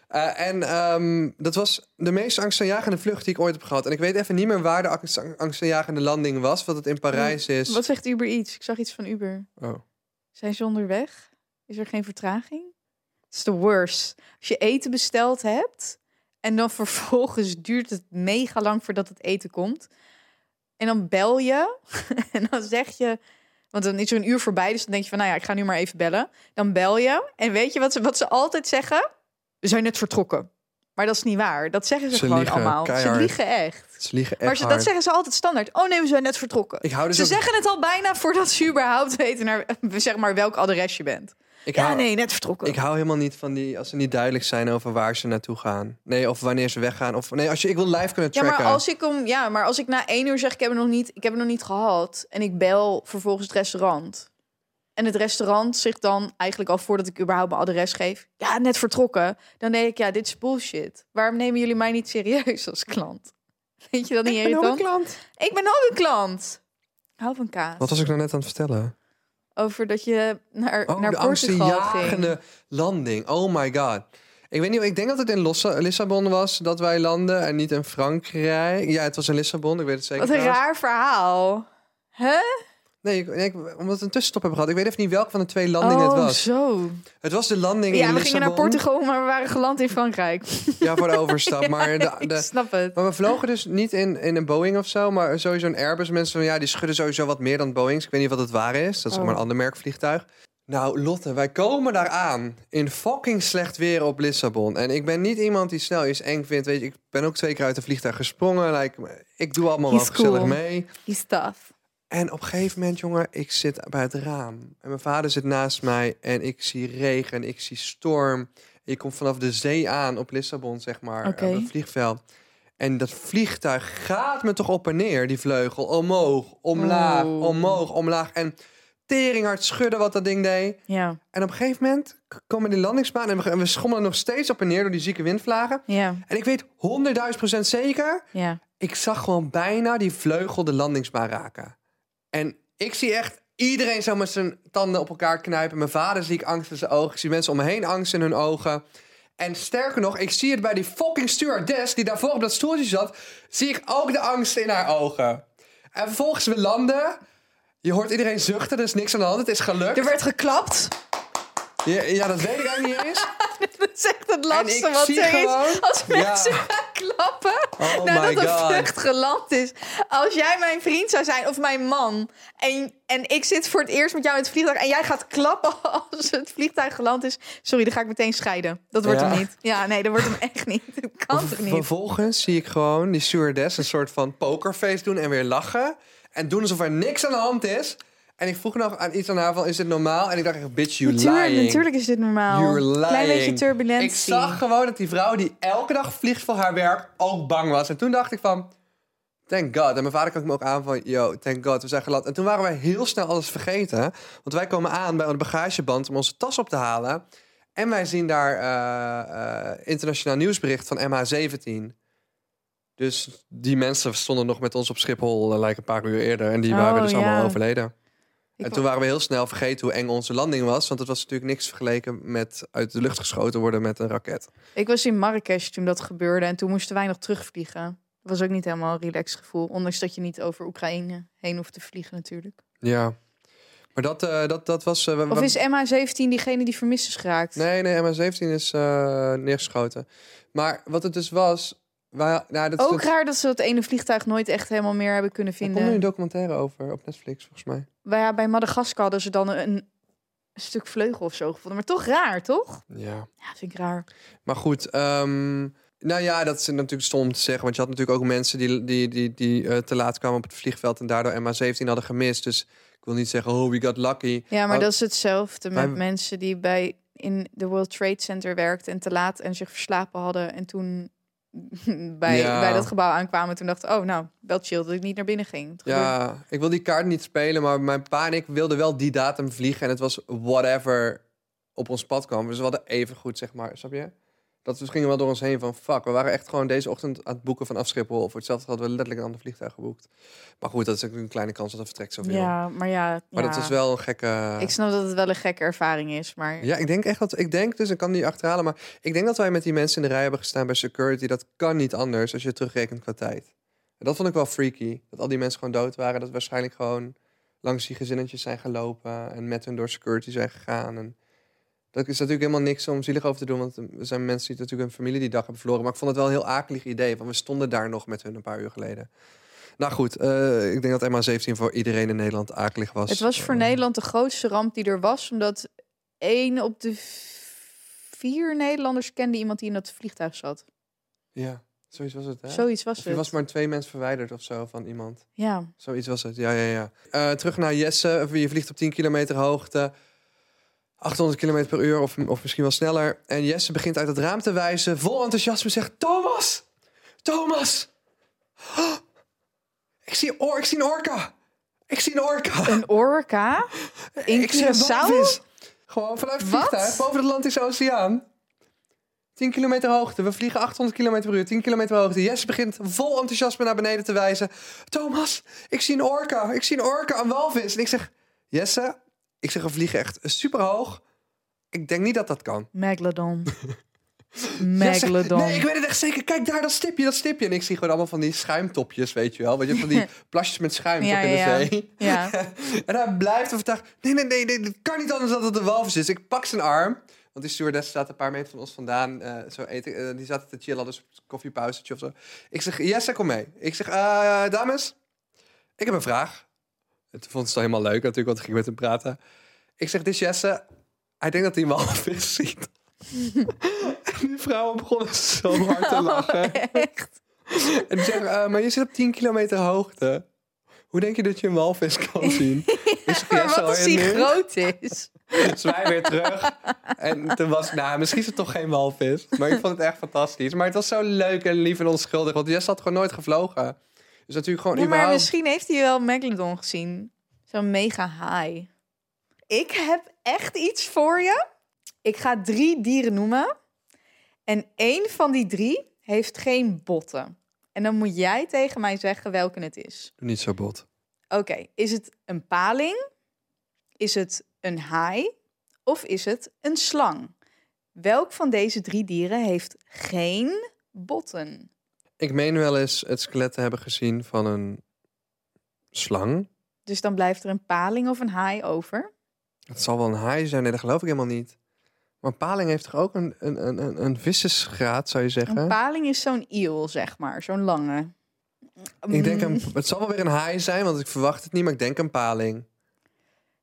[SPEAKER 2] Eh, en ehm, dat was de meest angstaanjagende vlucht die ik ooit heb gehad. En ik weet even niet meer waar de angst- angstaanjagende landing was, wat het in Parijs is.
[SPEAKER 1] Mm, Wat zegt Uber iets? Ik zag iets van Uber.
[SPEAKER 2] Oh.
[SPEAKER 1] Zijn ze onderweg? Is er geen vertraging? Het is de worst. Als je eten besteld hebt en dan vervolgens duurt het mega lang voordat het eten komt. En dan bel je en dan zeg je, want dan is er een uur voorbij, dus dan denk je van, nou ja, ik ga nu maar even bellen. Dan bel je en weet je wat ze, wat ze altijd zeggen? We zijn net vertrokken. Maar dat is niet waar. Dat zeggen ze,
[SPEAKER 2] Ze
[SPEAKER 1] gewoon
[SPEAKER 2] liegen
[SPEAKER 1] allemaal.
[SPEAKER 2] keihard.
[SPEAKER 1] Ze liegen echt.
[SPEAKER 2] Ze liegen echt
[SPEAKER 1] maar ze, dat
[SPEAKER 2] hard.
[SPEAKER 1] zeggen ze altijd standaard. Oh nee, we zijn net vertrokken.
[SPEAKER 2] Ik hou dus
[SPEAKER 1] ze
[SPEAKER 2] ook-
[SPEAKER 1] zeggen het al bijna voordat ze überhaupt weten naar, zeg maar, welk adres je bent.
[SPEAKER 2] ik
[SPEAKER 1] Ja,
[SPEAKER 2] hou,
[SPEAKER 1] nee, net vertrokken.
[SPEAKER 2] Ik hou helemaal niet van die, als ze niet duidelijk zijn over waar ze naartoe gaan. Nee, of wanneer ze weggaan. Of nee, als je, ik wil live kunnen
[SPEAKER 1] Ja,
[SPEAKER 2] tracken.
[SPEAKER 1] maar als ik om, ja, maar als ik na één uur zeg ik heb het nog niet, ik heb het nog niet gehad en ik bel vervolgens het restaurant en het restaurant zegt dan eigenlijk al voordat ik überhaupt mijn adres geef, ja net vertrokken, dan denk ik ja dit is bullshit. Waarom nemen jullie mij niet serieus als klant? Vind je dat niet
[SPEAKER 2] ben ook een
[SPEAKER 1] irritant?
[SPEAKER 2] klant.
[SPEAKER 1] Ik ben ook een klant. Ik Hou van kaas.
[SPEAKER 2] Wat was ik nou net aan het vertellen?
[SPEAKER 1] Over dat je naar,
[SPEAKER 2] Oh,
[SPEAKER 1] naar
[SPEAKER 2] de
[SPEAKER 1] Portugal ging.
[SPEAKER 2] angstenjagende landing. Oh my god. Ik weet niet, ik denk dat het in Lossa- Lissabon was dat wij landen en niet in Frankrijk. Ja, het was in Lissabon, ik weet het zeker.
[SPEAKER 1] Wat een
[SPEAKER 2] trouwens.
[SPEAKER 1] raar verhaal. Huh?
[SPEAKER 2] Nee, ik, nee, ik- omdat we een tussenstop hebben gehad. Ik weet even niet welke van de twee landingen
[SPEAKER 1] Oh,
[SPEAKER 2] het was.
[SPEAKER 1] zo.
[SPEAKER 2] Het was de landing
[SPEAKER 1] Ja,
[SPEAKER 2] in
[SPEAKER 1] we
[SPEAKER 2] Lissabon.
[SPEAKER 1] gingen naar Portugal, maar we waren geland in Frankrijk.
[SPEAKER 2] Ja, voor de overstap. maar, de,
[SPEAKER 1] Ik
[SPEAKER 2] de-
[SPEAKER 1] snap het.
[SPEAKER 2] maar we vlogen dus niet in, in een Boeing of zo, maar sowieso een Airbus. Mensen van, ja, die schudden sowieso wat meer dan Boeings. Ik weet niet wat het waar is. Dat is
[SPEAKER 1] Oh.
[SPEAKER 2] maar een ander merk vliegtuig. Nou, Lotte, wij komen daar aan in fucking slecht weer op Lissabon. En ik ben niet iemand die snel iets eng vindt. Weet je, ik ben ook twee keer uit een vliegtuig gesprongen. Like, ik doe allemaal wel
[SPEAKER 1] He's cool.
[SPEAKER 2] gezellig mee.
[SPEAKER 1] Die staf.
[SPEAKER 2] En op een gegeven moment, jongen, ik zit bij het raam. En mijn vader zit naast mij en ik zie regen, ik zie storm. Je komt vanaf de zee aan op Lissabon, zeg maar,
[SPEAKER 1] Oké.
[SPEAKER 2] op het vliegveld. En dat vliegtuig gaat me toch op en neer, die vleugel. Omhoog, omlaag,
[SPEAKER 1] Oh.
[SPEAKER 2] omhoog, omlaag. En teringhard schudden wat dat ding deed.
[SPEAKER 1] Ja,
[SPEAKER 2] En op een gegeven moment k- komen die landingsbaan en we, en we schommelen nog steeds op en neer door die zieke windvlagen.
[SPEAKER 1] ja,
[SPEAKER 2] En ik weet 100.000 procent zeker
[SPEAKER 1] ja.
[SPEAKER 2] ik zag gewoon bijna die vleugel de landingsbaan raken. En ik zie echt iedereen zo met zijn tanden op elkaar knijpen. Mijn vader zie ik angst in zijn ogen. Ik zie mensen om me heen angst in hun ogen. En sterker nog, ik zie het bij die fucking stewardess die daarvoor op dat stoeltje zat. Zie ik ook de angst in haar ogen. En vervolgens we landen. Je hoort iedereen zuchten, er is niks aan de hand. Het is gelukt.
[SPEAKER 1] Er werd geklapt.
[SPEAKER 2] Ja, ja, dat weet ik eigenlijk niet eens.
[SPEAKER 1] Dat is echt het
[SPEAKER 2] En
[SPEAKER 1] laatste
[SPEAKER 2] ik
[SPEAKER 1] wat
[SPEAKER 2] zie
[SPEAKER 1] er
[SPEAKER 2] gewoon-
[SPEAKER 1] is. Als
[SPEAKER 2] Ja.
[SPEAKER 1] mensen gaan klappen
[SPEAKER 2] Oh my
[SPEAKER 1] nadat een
[SPEAKER 2] God.
[SPEAKER 1] vlucht geland is. Als jij mijn vriend zou zijn of mijn man... En, en ik zit voor het eerst met jou in het vliegtuig... en jij gaat klappen als het vliegtuig geland is... Sorry, dan ga ik meteen scheiden. Dat wordt
[SPEAKER 2] Ja.
[SPEAKER 1] hem niet. Ja, nee, dat wordt hem echt niet. Dat kan toch niet?
[SPEAKER 2] Vervolgens zie ik gewoon die stewardess een soort van pokerface doen en weer lachen. En doen alsof er niks aan de hand is. En ik vroeg nog aan iets aan haar van, is dit normaal? En ik dacht echt, bitch, you
[SPEAKER 1] Natuurlijk,
[SPEAKER 2] lying.
[SPEAKER 1] natuurlijk is dit normaal.
[SPEAKER 2] You're lying.
[SPEAKER 1] Klein beetje turbulentie.
[SPEAKER 2] Ik zag gewoon dat die vrouw die elke dag vliegt voor haar werk ook bang was. En toen dacht ik van, thank god. En mijn vader kwam me ook aan van, yo, thank god, we zijn geland. En toen waren wij heel snel alles vergeten. Want wij komen aan bij een bagageband om onze tas op te halen. En wij zien daar eh, eh, internationaal nieuwsbericht van MH17. Dus die mensen stonden nog met ons op Schiphol eh, like een paar uur eerder. En die waren
[SPEAKER 1] Oh,
[SPEAKER 2] dus
[SPEAKER 1] ja.
[SPEAKER 2] allemaal overleden.
[SPEAKER 1] Ik
[SPEAKER 2] en
[SPEAKER 1] wa-
[SPEAKER 2] toen waren we heel snel vergeten hoe eng onze landing was. Want het was natuurlijk niks vergeleken met uit de lucht geschoten worden met een raket.
[SPEAKER 1] Ik was in Marrakesh toen dat gebeurde en toen moesten wij nog terugvliegen. Dat was ook niet helemaal een relaxed gevoel, ondanks dat je niet over Oekraïne heen hoeft te vliegen natuurlijk.
[SPEAKER 2] Ja. Maar dat, eh, dat, dat was... eh, we-
[SPEAKER 1] Of
[SPEAKER 2] we-
[SPEAKER 1] is MH17 diegene die vermist is geraakt?
[SPEAKER 2] Nee, nee, MH17 is eh, neergeschoten. Maar wat het dus was... Wij, nou, dat,
[SPEAKER 1] Ook
[SPEAKER 2] dat,
[SPEAKER 1] raar dat ze dat ene vliegtuig nooit echt helemaal meer hebben kunnen
[SPEAKER 2] daar komt nu
[SPEAKER 1] vinden.
[SPEAKER 2] een documentaire over op Netflix, volgens mij.
[SPEAKER 1] Bij, ja, bij Madagaskar hadden ze dan een stuk vleugel of zo gevonden. Maar toch raar, toch?
[SPEAKER 2] Ja.
[SPEAKER 1] Ja, vind ik raar.
[SPEAKER 2] Maar goed, ehm, nou ja, dat is natuurlijk stom om te zeggen. Want je had natuurlijk ook mensen die, die, die, die eh, te laat kwamen op het vliegveld en daardoor MH17 hadden gemist. Dus ik wil niet zeggen, oh, we got lucky.
[SPEAKER 1] Ja, maar
[SPEAKER 2] Maar-
[SPEAKER 1] dat is hetzelfde met
[SPEAKER 2] Maar-
[SPEAKER 1] mensen die bij in de World Trade Center werkten en te laat en zich verslapen hadden en toen bij,
[SPEAKER 2] Ja.
[SPEAKER 1] bij dat gebouw aankwamen. Toen dachten, oh nou, wel chill dat ik niet naar binnen ging. Het gebeurde-
[SPEAKER 2] Ja, ik wil die kaart niet spelen, maar mijn pa en ik wilden wel die datum vliegen. En het was whatever op ons pad kwam. Dus we hadden even goed, zeg maar, snap je? Dat we gingen wel door ons heen van, fuck, we waren echt gewoon deze ochtend aan het boeken vanaf Schiphol. Voor hetzelfde hadden we letterlijk een ander vliegtuig geboekt. Maar goed, dat is ook een kleine kans dat het vertrekt zoveel.
[SPEAKER 1] ja, maar ja.
[SPEAKER 2] Maar
[SPEAKER 1] ja.
[SPEAKER 2] dat was wel een gekke...
[SPEAKER 1] Ik snap dat het wel een gekke ervaring is, maar
[SPEAKER 2] Ja, ik denk echt dat ik denk dus ik kan die achterhalen, maar ik denk dat wij met die mensen in de rij hebben gestaan bij security. Dat kan niet anders als je terugrekent qua tijd. En dat vond ik wel freaky. Dat al die mensen gewoon dood waren, dat waarschijnlijk gewoon langs die gezinnetjes zijn gelopen en met hun door security zijn gegaan. En dat is natuurlijk helemaal niks om zielig over te doen, want er zijn mensen die natuurlijk hun familie die dag hebben verloren. Maar ik vond het wel een heel akelig idee, want we stonden daar nog met hun een paar uur geleden. Nou goed, eh, ik denk dat MH17 voor iedereen in Nederland akelig was.
[SPEAKER 1] het was voor
[SPEAKER 2] Eh,
[SPEAKER 1] Nederland de grootste ramp die er was, omdat één op de v- vier Nederlanders kende iemand die in dat vliegtuig zat.
[SPEAKER 2] Ja, zoiets was het, hè?
[SPEAKER 1] Zoiets was
[SPEAKER 2] Of
[SPEAKER 1] het.
[SPEAKER 2] je was maar twee mensen verwijderd of zo van iemand.
[SPEAKER 1] Ja.
[SPEAKER 2] Zoiets was het, ja, ja, ja. Eh, terug naar Jesse. Je vliegt op 10 kilometer hoogte. 800 km per uur of, of misschien wel sneller. En Jesse begint uit het raam te wijzen. Vol enthousiasme zegt... Thomas! Thomas! Ah! Ik zie, or, ik zie een orka! Ik zie een orka!
[SPEAKER 1] Een orka? In
[SPEAKER 2] ik zie een
[SPEAKER 1] Curaçao?
[SPEAKER 2] walvis. Gewoon vanuit het
[SPEAKER 1] Wat?
[SPEAKER 2] vliegtuig, boven de Atlantische Oceaan. 10 kilometer hoogte. We vliegen 800 km per uur. 10 kilometer hoogte. Jesse begint vol enthousiasme naar beneden te wijzen. Thomas, ik zie een orka. Ik zie een orka, een walvis. En ik zeg, Jesse, ik zeg, we vliegen echt super hoog. Ik denk niet dat dat kan.
[SPEAKER 1] Megalodon.
[SPEAKER 2] Jesse,
[SPEAKER 1] Megalodon.
[SPEAKER 2] nee, ik weet het echt zeker. Kijk daar, dat stipje, dat stipje. En ik zie gewoon allemaal van die schuimtopjes, weet je wel. Weet je, van die plasjes met schuim
[SPEAKER 1] Ja,
[SPEAKER 2] toch in de
[SPEAKER 1] ja, ja.
[SPEAKER 2] zee.
[SPEAKER 1] Ja.
[SPEAKER 2] en hij blijft overtuigd. Nee, nee, nee, nee, het kan niet anders dan dat het een walvis is. Ik pak zijn arm. Want die stewardess staat een paar meter van ons vandaan. eh, zo eten, eh, die zaten te chillen, hadden een koffiepauzetje of zo. Ik zeg, Jesse, kom mee. Ik zeg, eh, dames, ik heb een vraag. En toen vond ze het helemaal leuk natuurlijk, want ik ging met hem praten. Ik zeg, dit is Jesse. Hij denkt dat hij een walvis ziet. en die vrouwen begonnen zo hard te lachen.
[SPEAKER 1] Echt?
[SPEAKER 2] En die zeggen, eh, maar je zit op 10 kilometer hoogte. Hoe denk je dat je een walvis kan zien? Dus ik,
[SPEAKER 1] Maar
[SPEAKER 2] "Yes,
[SPEAKER 1] wat
[SPEAKER 2] hoor,
[SPEAKER 1] als
[SPEAKER 2] en
[SPEAKER 1] die
[SPEAKER 2] nu?"
[SPEAKER 1] groot is?
[SPEAKER 2] Dus wij weer terug. En toen was, nou, misschien is het toch geen walvis. Maar ik vond het echt fantastisch. Maar het was zo leuk en lief en onschuldig. Want Jess had gewoon nooit gevlogen. Dus natuurlijk gewoon
[SPEAKER 1] Ja, maar
[SPEAKER 2] überhaupt...
[SPEAKER 1] misschien heeft hij wel Megalodon gezien. Zo'n mega haai. Ik heb echt iets voor je. Ik ga drie dieren noemen. En één van die drie heeft geen botten. En dan moet jij tegen mij zeggen welke het is.
[SPEAKER 2] Doe niet zo bot.
[SPEAKER 1] Oké, is het een paling? Is het een haai? Of is het een slang? Welk van deze drie dieren heeft geen botten?
[SPEAKER 2] Ik meen wel eens het skelet te hebben gezien van een slang.
[SPEAKER 1] Dus dan blijft er een paling of een haai over.
[SPEAKER 2] Het zal wel een haai zijn. Nee, dat geloof ik helemaal niet. Maar een paling heeft toch ook een, een, een, een, een vissersgraad, zou je
[SPEAKER 1] Een
[SPEAKER 2] zeggen?
[SPEAKER 1] paling is zo'n iel, zeg maar. Zo'n lange.
[SPEAKER 2] Ik denk
[SPEAKER 1] Mm,
[SPEAKER 2] een, het zal wel weer een haai zijn, want ik verwacht het niet, maar ik denk een paling.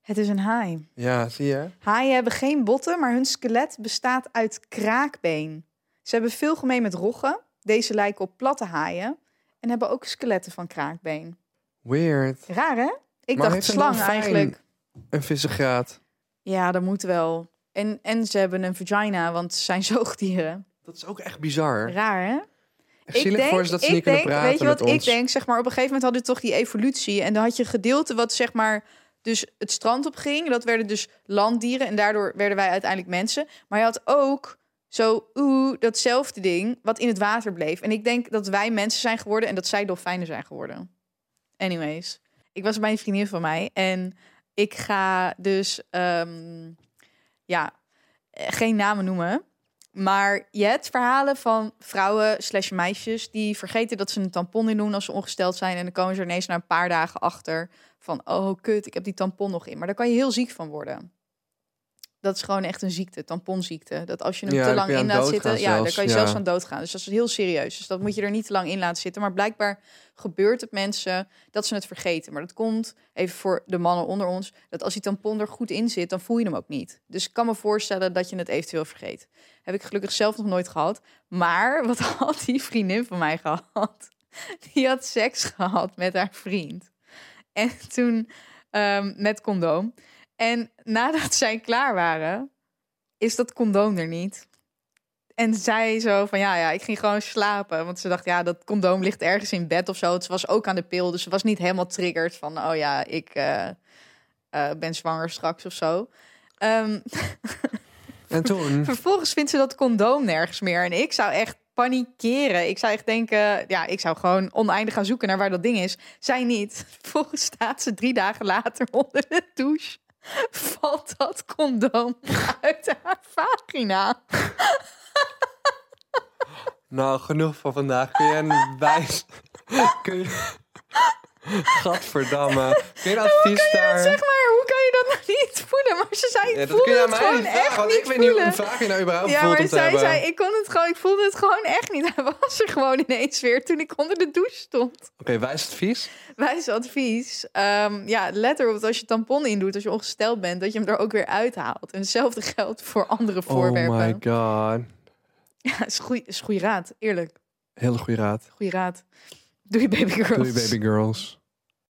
[SPEAKER 1] Het is een haai.
[SPEAKER 2] Ja, zie je?
[SPEAKER 1] Haaien hebben geen botten, maar hun skelet bestaat uit kraakbeen. Ze hebben veel gemeen met roggen. Deze lijken op platte haaien. En hebben ook skeletten van kraakbeen.
[SPEAKER 2] Weird.
[SPEAKER 1] Raar, hè? Ik
[SPEAKER 2] Maar
[SPEAKER 1] dacht
[SPEAKER 2] heeft een
[SPEAKER 1] slang
[SPEAKER 2] dolfijn-
[SPEAKER 1] eigenlijk.
[SPEAKER 2] Een vissengraad.
[SPEAKER 1] Ja, dat moet wel. En, en ze hebben een vagina, want ze zijn zoogdieren.
[SPEAKER 2] Dat is ook echt bizar.
[SPEAKER 1] Raar, hè?
[SPEAKER 2] Echt zielig voor ze dat ze niet kunnen praten
[SPEAKER 1] Weet je wat
[SPEAKER 2] met ons.
[SPEAKER 1] ik denk? Zeg maar, op een gegeven moment hadden we toch die evolutie. En dan had je gedeelte wat zeg maar dus het strand op ging. Dat werden dus landdieren. En daardoor werden wij uiteindelijk mensen. Maar je had ook zo oeh, datzelfde ding wat in het water bleef. En ik denk dat wij mensen zijn geworden en dat zij dolfijnen zijn geworden. Anyways, ik was bij een vriendin van mij en ik ga dus ehm, ja, eh, geen namen noemen. Maar je hebt verhalen van vrouwen slash meisjes die vergeten dat ze een tampon in doen als ze ongesteld zijn. En dan komen ze er ineens na een paar dagen achter van, oh kut, ik heb die tampon nog in. Maar daar kan je heel ziek van worden. Dat is gewoon echt een ziekte, tamponziekte. Dat als je hem
[SPEAKER 2] Ja,
[SPEAKER 1] te
[SPEAKER 2] daar
[SPEAKER 1] lang
[SPEAKER 2] kun je
[SPEAKER 1] in
[SPEAKER 2] aan
[SPEAKER 1] laat
[SPEAKER 2] doodgaan
[SPEAKER 1] zitten, ja, daar
[SPEAKER 2] zelfs,
[SPEAKER 1] kan je
[SPEAKER 2] ja.
[SPEAKER 1] zelfs aan doodgaan. Dus dat is heel serieus. Dus dat moet je er niet te lang in laten zitten. Maar blijkbaar gebeurt het mensen dat ze het vergeten. Maar dat komt, even voor de mannen onder ons, dat als die tampon er goed in zit, dan voel je hem ook niet. Dus ik kan me voorstellen dat je het eventueel vergeet. Heb ik gelukkig zelf nog nooit gehad. Maar wat had die vriendin van mij gehad? Die had seks gehad met haar vriend. En toen ehm, met condoom. En nadat zij klaar waren, is dat condoom er niet. En zij zo van ja, ja, ik ging gewoon slapen. Want ze dacht, ja, dat condoom ligt ergens in bed of zo. Ze was ook aan de pil, dus ze was niet helemaal triggerd van oh ja, ik eh, eh, ben zwanger straks of zo. Ehm,
[SPEAKER 2] En toen,
[SPEAKER 1] vervolgens vindt ze dat condoom nergens meer. En ik zou echt panikeren. Ik zou echt denken, ja, ik zou gewoon oneindig gaan zoeken naar waar dat ding is. Zij niet. Vervolgens staat ze drie dagen later onder de douche. Valt dat condoom uit haar vagina?
[SPEAKER 2] nou genoeg van vandaag. Kun je een wijs... Kun je... Gadverdamme. Kun je nou een advies daar...
[SPEAKER 1] Zeg maar, hoe kan je dat nou niet voelen? Maar ze zei, ik
[SPEAKER 2] Ja, dat
[SPEAKER 1] voelde
[SPEAKER 2] kun je
[SPEAKER 1] het
[SPEAKER 2] aan mij
[SPEAKER 1] gewoon
[SPEAKER 2] niet vragen,
[SPEAKER 1] echt
[SPEAKER 2] want
[SPEAKER 1] niet
[SPEAKER 2] ik weet niet hoe
[SPEAKER 1] voelen.
[SPEAKER 2] een vraag je nou überhaupt
[SPEAKER 1] Ja,
[SPEAKER 2] voelt
[SPEAKER 1] maar
[SPEAKER 2] om te
[SPEAKER 1] zij
[SPEAKER 2] hebben.
[SPEAKER 1] zei, ik kon het gewoon, ik voelde het gewoon echt niet. Hij was er gewoon ineens weer toen ik onder de douche stond.
[SPEAKER 2] Oké, wijs advies.
[SPEAKER 1] Wijs advies. Ehm, ja, let erop dat als je tampon indoet, als je ongesteld bent, dat je hem er ook weer uithaalt. En hetzelfde geldt voor andere
[SPEAKER 2] Oh my
[SPEAKER 1] voorwerpen.
[SPEAKER 2] god.
[SPEAKER 1] Ja, is goeie, is goeie raad, eerlijk.
[SPEAKER 2] Hele goede raad.
[SPEAKER 1] Goeie raad. Doe je baby girls.
[SPEAKER 2] Doe je baby girls.